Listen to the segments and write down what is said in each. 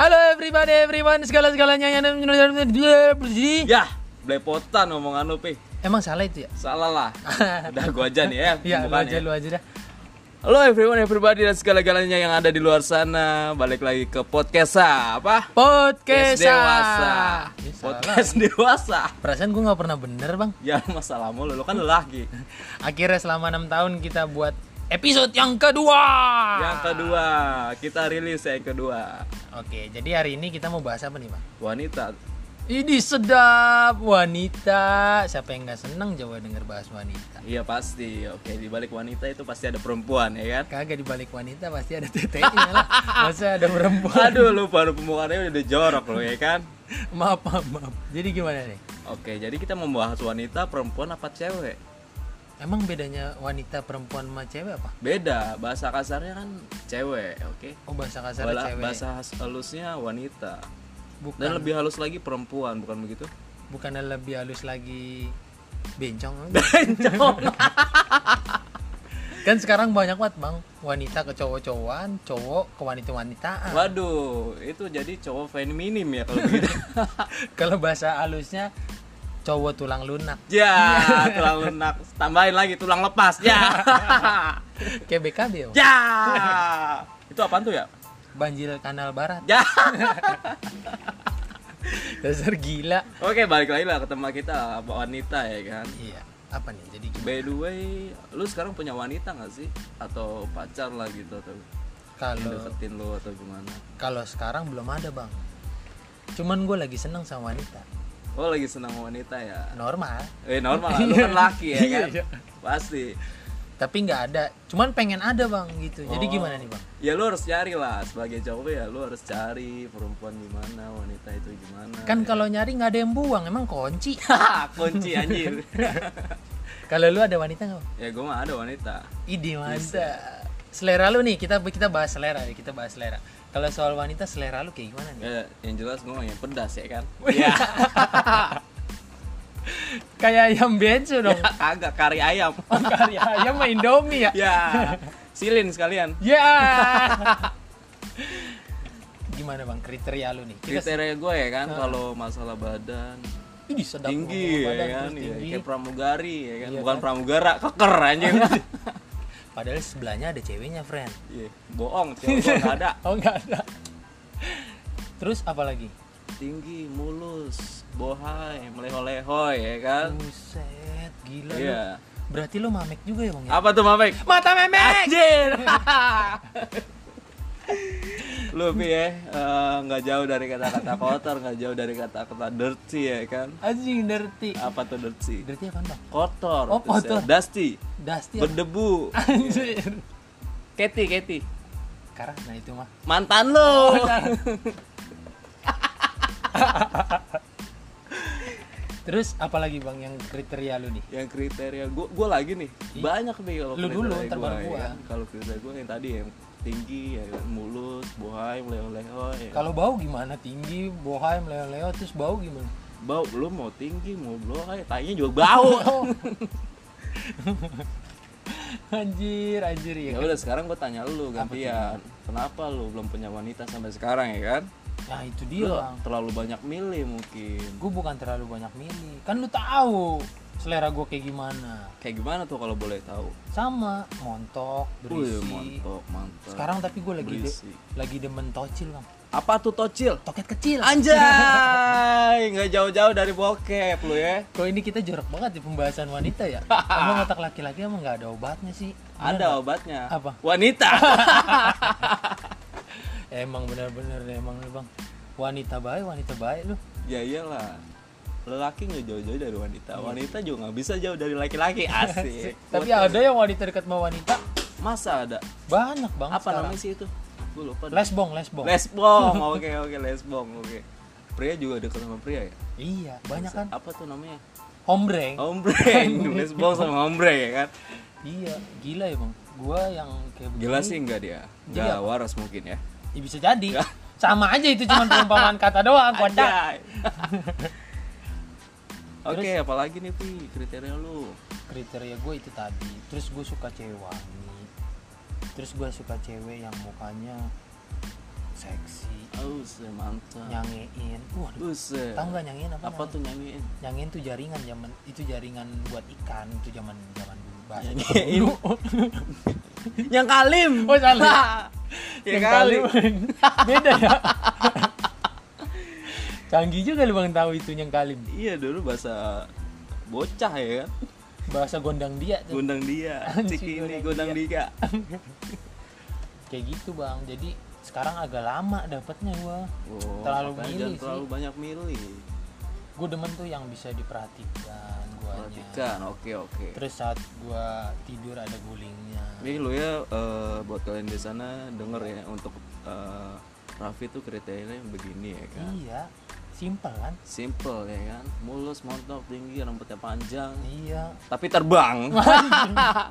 Halo everybody, everyone, segala-segalanya yang Yah, Ya, belepotan omongan lu, Pi. Emang salah itu ya? Salah lah. Udah gua aja nih ya, Iya, lu pembukaan aja, ya. lu aja dah Halo everyone, everybody dan segala-galanya yang ada di luar sana. Balik lagi ke podcast apa? Podcast Podcast dewasa. Eh, salah. Podcast dewasa. Perasaan gue gak pernah bener bang Ya masalah mulu, lu kan lelaki. Akhirnya selama 6 tahun kita buat episode yang kedua Yang kedua, kita rilis yang kedua. Oke, jadi hari ini kita mau bahas apa nih bang? Wanita. Ini sedap wanita Siapa yang gak seneng coba denger bahas wanita Iya pasti. Oke, di balik wanita itu pasti ada perempuan, ya kan? Kagak dibalik wanita pasti ada tetenya lah Masa ada perempuan Aduh, lu baru pembukaannya udah jorok lu ya kan? Maaf, maaf, maaf Jadi gimana nih? Oke, jadi kita membahas wanita, perempuan apa cewek? Emang bedanya wanita perempuan sama cewek apa? beda bahasa kasarnya kan cewek oke Oh bahasa kasar Wala- cewek. bahasa has- halusnya wanita Bukan dan lebih halus lagi perempuan bukan begitu bukan lebih halus lagi bencong. kan sekarang banyak banget bang wanita ke cowok-cowokan, cowok ke wanita-wanitaan. waduh itu jadi cowok feminim ya kalau begitu Kalau bahasa halusnya cowok tulang lunak. ya tulang lunak tambahin lagi tulang lepas ya Kayak BKB ya. Bang? ya itu apaan tuh ya Banjir Kanal Barat. ya Dasar gila. oke balik lagi lah ke tema kita wanita ya kan Iya. Apa nih? Jadi gimana? by the way lu sekarang punya wanita nggak sih atau pacar lah gitu atau yang kalau deketin lu atau gimana kalau sekarang belum ada bang. Cuman gue lagi seneng sama wanita. oh lagi senang wanita ya Normal. Eh normal lah, lu kan laki ya Iya, kan? iya. Pasti. tapi nggak ada cuman pengen ada bang gitu jadi Oh. gimana nih bang Ya lu harus cari lah sebagai cowok ya lu harus cari perempuan gimana, wanita itu gimana. kan kalau nyari nggak ada yang buang emang kunci Hahaha, kunci anjir. kalau lu ada wanita nggak Bang? ya gua mah ada wanita. ide mantap selera lu nih kita kita bahas selera ya kita bahas selera kalau soal wanita selera lu kayak gimana nih Ya, yang jelas gua mah yang pedas ya kan. Ya, kayak ayam bensu dong kagak kari ayam. kari ayam main indomie ya ya. Silin sekalian. ya gimana bang kriteria lu nih kita Kriteria gue ya kan kalau masalah badan Ih, sedap ngomong tinggi badan, terus ya kan, Iya, tinggi. Iya kayak pramugari ya kan, bukan pramugara, keker anjing. padahal sebelahnya ada ceweknya friend Iya, bohong, cowok gua nggak ada. oh nggak ada terus apa lagi tinggi, mulus, bohai, meleho-leho ya kan? Buset, gila lu. Iya. Berarti lo mamek juga ya bang ya? Apa tuh Mapek? Mata memek! Anjir. Lu Pi, ya, eh, nggak jauh dari kata-kata kotor, nggak jauh dari kata-kata dirty ya kan? Anjing, dirty Apa tuh dirty? Dirty apaan bang? Kotor. Oh, terus ya, kotor. Iya. Ah, Dusty. Dusty apa? Berdebu. Anjir Keti, Keti. Karena nah itu mah Mantan lo. Oh, Terus apalagi bang yang kriteria lu nih? yang kriteria gua gua lagi nih banyak nih kalau Lu dulu, kriteria ntar baru ya gua. kan. kalau kriteria gua yang tadi yang tinggi ya kan, mulus bohai meleho-leho ya kan. Kalau bau gimana? Tinggi, bohai, meleo-leo, terus bau gimana? bau lu mau tinggi mau bohai tainya juga bau anjir, anjir ya. ya udah sekarang gua tanya lu gantian kenapa lu belum punya wanita sampai sekarang ya kan Nah itu dia lu bang. terlalu banyak milih mungkin Gue bukan terlalu banyak milih. Kan lu tahu selera gue kayak gimana. kayak gimana tuh kalau boleh tahu Sama, montok, berisi. Wih, mantap mantap Sekarang tapi gue lagi de- Berisi. lagi demen tocil bang. apa tuh tocil Toket kecil. anjay nggak jauh-jauh dari bokep lu ya Kok ini kita jorok banget di pembahasan wanita ya? emang otak laki-laki emang nggak ada obatnya sih. ada obatnya Apa? wanita Emang bener-bener deh, emang lu bang. Wanita baik, wanita baik lu. Ya iyalah. Lelaki nggak jauh-jauh dari Iya. wanita. Wanita juga nggak bisa jauh dari laki-laki. Asik. Tapi ada yang wanita dekat sama wanita Masa ada? banyak banget. Apa sekarang. namanya sih itu? Gue lupa. Lesbong, lesbong. Lesbong. Oke oke lesbong. Oke. Pria juga dekat sama pria ya? iya, banyak kan. Apa tuh namanya? Ombreng. Oh. Ombreng. lesbong sama ombreng ya kan? Iya, gila ya bang. Gua yang kayak begini. Jelas sih enggak dia. Jadi Enggak waras mungkin ya. Ya, bisa jadi. Sama aja itu cuma perumpamaan kata doang, kocak. Anjay. Oke, apalagi nih Pi kriteria lu? kriteria gue itu tadi terus gue suka cewek wangi terus gue suka cewek yang mukanya seksi Oh, se- Iya. mantap. nyangein waduh Buset. tahu nggak nyangein apa, namanya? Apa tuh nyanyiin? nyangein tuh jaringan zaman itu jaringan buat ikan itu zaman zaman dulu bahasa Nyanyiin. Yang kalim. Oh, salim. ya Yang kali. kali. beda ya canggih juga lu bang tahu itu yang kali Iya dulu bahasa bocah ya kan. bahasa gondang dia tuh Gondang Iya. dia, Anjing, ciki ini gondang gondang dia. kayak gitu bang jadi sekarang agak lama dapatnya gua Oh, Terlalu milih makanya jangan sih. terlalu banyak milih. gua demen tuh yang bisa diperhatikan guanya Perhatikan, oke oke. terus saat gua tidur ada gulingnya Jadi lu ya eh, buat kalian di sana denger ya untuk eh, Raffi tuh kriterianya begini ya kan. iya simpel kan Simple ya kan, mulus, montok, tinggi, rambutnya panjang, iya tapi terbang.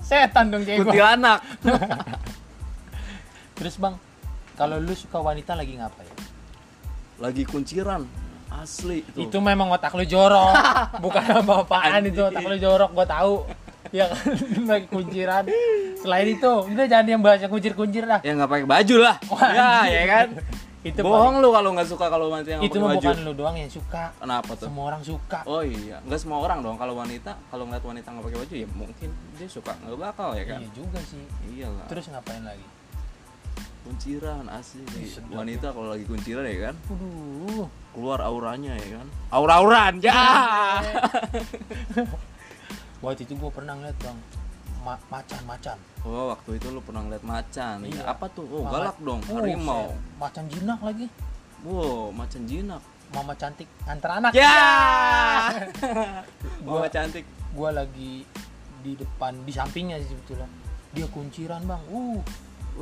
setan dong cewek gua Kuntilanak. terus bang kalau lu suka wanita lagi ngapain Lagi kunciran. Asli tuh. itu memang otak lu jorok bukan apa-apaan itu otak lu jorok gua tahu ya kan lagi kunciran selain itu udah jangan yang bahas yang kuncir-kuncir lah Ya nggak pakai baju lah. ya, ya kan. itu Bohong lu kalau nggak suka kalau wanita yang itu pakai mah baju. bukan lu doang yang suka Kenapa tuh? semua orang suka Oh iya, nggak semua orang dong. Kalau wanita, kalau ngeliat wanita nggak pakai baju ya mungkin dia suka nggak bakal ya kan. iya juga sih Iyalah. terus ngapain lagi kunciran asli Ih, sedap wanita kalau lagi kunciran ya kan Waduh, keluar auranya ya kan aura-auran ya Iya. waktu itu gua pernah ngeliat bang ma- macan-macan. oh waktu itu lu pernah ngeliat macan Iya. iya. apa tuh oh Mama- galak dong Oh, harimau set. Macan jinak lagi, wow macan jinak mama cantik antar anak. ya Gua- gua Ya! cantik Gua lagi di depan, di sampingnya sih sebetulnya. Dia kunciran bang, uh, Wuh.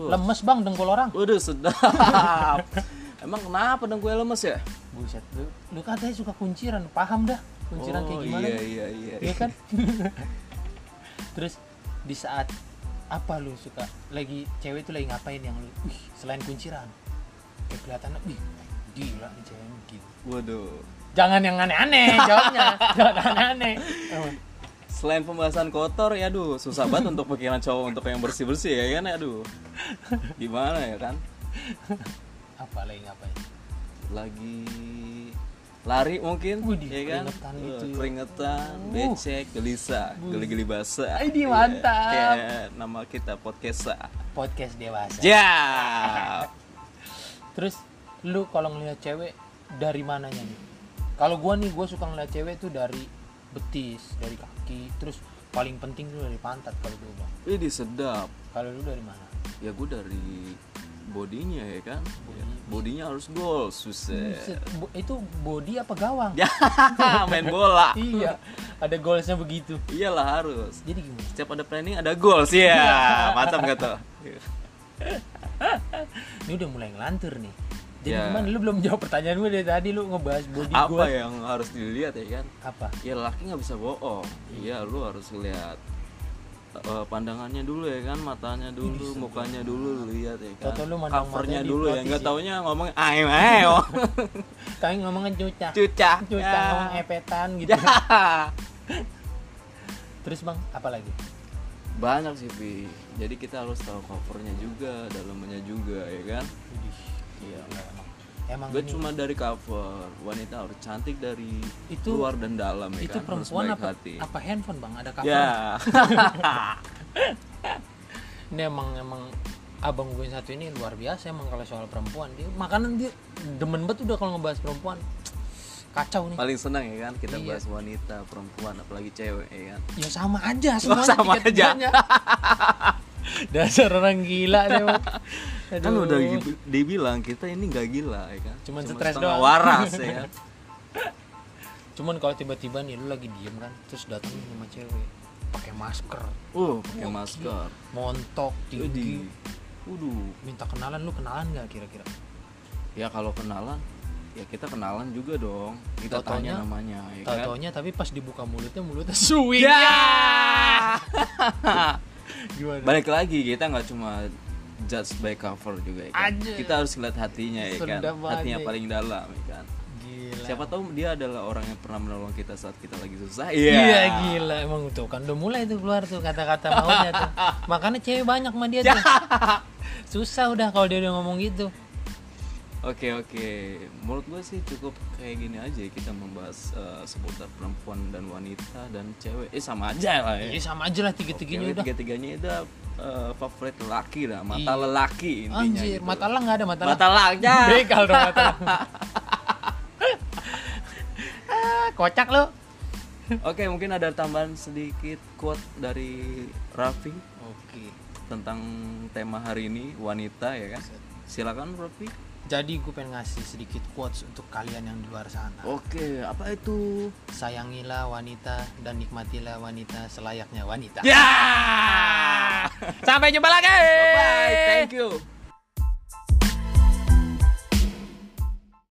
lemes bang dengkul orang. waduh sedap emang kenapa dong gue lemes ya Buset, lu, lu kan katanya suka kunciran, paham dah kunciran oh, kayak gimana? iya iya iya, Iya kan? Terus di saat apa lu suka lagi cewek itu lagi ngapain yang lu wih, selain kunciran kayak kelihatannya wih gila nih cewek ini," gitu waduh jangan yang aneh-aneh jawabnya jangan aneh-aneh selain pembahasan kotor ya aduh susah banget untuk pikiran cowok untuk yang bersih bersih ya kan aduh gimana ya kan apa lagi ngapain lagi lari mungkin Widih, ya kan keringetan gitu ya. Eh, keringetan Uh. becek gelisah geli-geli basah Ay, di Iya, mantap. kayak nama kita podcast podcast dewasa ya terus lu kalau ngelihat cewek dari mananya nih kalau gua nih gua suka ngelihat cewek tuh dari betis dari kaki terus paling penting tuh dari pantat kalau gua bilang. ini sedap kalau lu dari mana ya gue dari bodinya ya kan Ya, bodinya harus gol susah Buset, bo- itu body apa gawang? ya main bola iya, ada goalsnya begitu. iyalah harus Jadi gimana? setiap ada planning ada goals ya Iya. mantap gak tuh Ini udah mulai ngelantur nih. Jadi Ya. gimana? Lu belum jawab pertanyaan gue dari tadi lu ngebahas body apa gua. yang harus dilihat ya kan Apa? ya laki nggak bisa bohong iya lu harus lihat eh, pandangannya dulu ya kan matanya dulu mukanya dulu lu lihat ya kan Tau-tau lu mandang covernya matanya dulu ya dihipnotis nggak ya. taunya ngomong ayo ayo Kayak ngomongin cuca. cuca Cuca Ya. ngomong epetan gitu. Ya. Terus Bang, apa lagi? banyak sih Pi jadi kita harus tahu covernya juga dalamnya juga ya kan Widih, Iya. gila emang. Emang Gue ini cuma dari cover wanita harus cantik dari Itu- luar dan dalam ya itu kan Harus perempuan baik apa hati apa handphone Bang? Ada cover. ya Ini emang emang abang gue yang satu ini luar biasa emang kalau soal perempuan dia makanan dia demen banget udah kalau ngebahas perempuan kacau nih paling senang ya kan kita Iya. bahas wanita perempuan apalagi cewek ya kan ya sama aja semuanya sama tiket aja. tiganya. dasar orang gila deh kan udah gi- dibilang kita ini nggak gila ya kan Cuman stres setengah doang. waras ya kan cuman kalau tiba-tiba nih lu lagi diem kan terus datang nih sama cewek pakai masker uh pakai masker montok jadi tinggi waduh minta kenalan lu kenalan nggak kira-kira ya kalau kenalan ya kita kenalan juga dong kita Tau-taunya- tanya namanya ya kan tau-taunya tapi pas dibuka mulutnya mulutnya suwi ya gimana balik lagi kita nggak cuma judge by cover juga ya kan Aja. kita harus lihat hatinya ya kan Sedap banget hatinya nih. paling dalam ya kan gila siapa tahu dia adalah orang yang pernah menolong kita saat kita lagi susah Iya Iya gila emang tuh kan udah mulai tuh keluar tuh kata-kata maunya tuh. Makanya cewek banyak sama dia tuh. Susah udah kalau dia udah ngomong gitu. Oke oke, menurut gue sih cukup kayak gini aja ya kita membahas eh, seputar perempuan dan wanita dan cewek, eh sama aja lah ya. Iya sama aja lah tiga-tiganya udah. tiga tiganya itu eh, favorit lelaki lah, mata Iya. lelaki intinya. Anjir, gitu. mata lang nggak ada mata lang. mata lelaknya. Begal dong mata lang. ah, kocak lo. Oke mungkin ada tambahan sedikit quote dari Raffi Oke. tentang tema hari ini wanita ya kan. Silakan Raffi. Jadi gue pengen ngasih sedikit quotes untuk kalian yang di luar sana. Oke, apa itu? Sayangilah wanita dan nikmatilah wanita selayaknya wanita. Ya. Sampai jumpa lagi. Bye, thank you.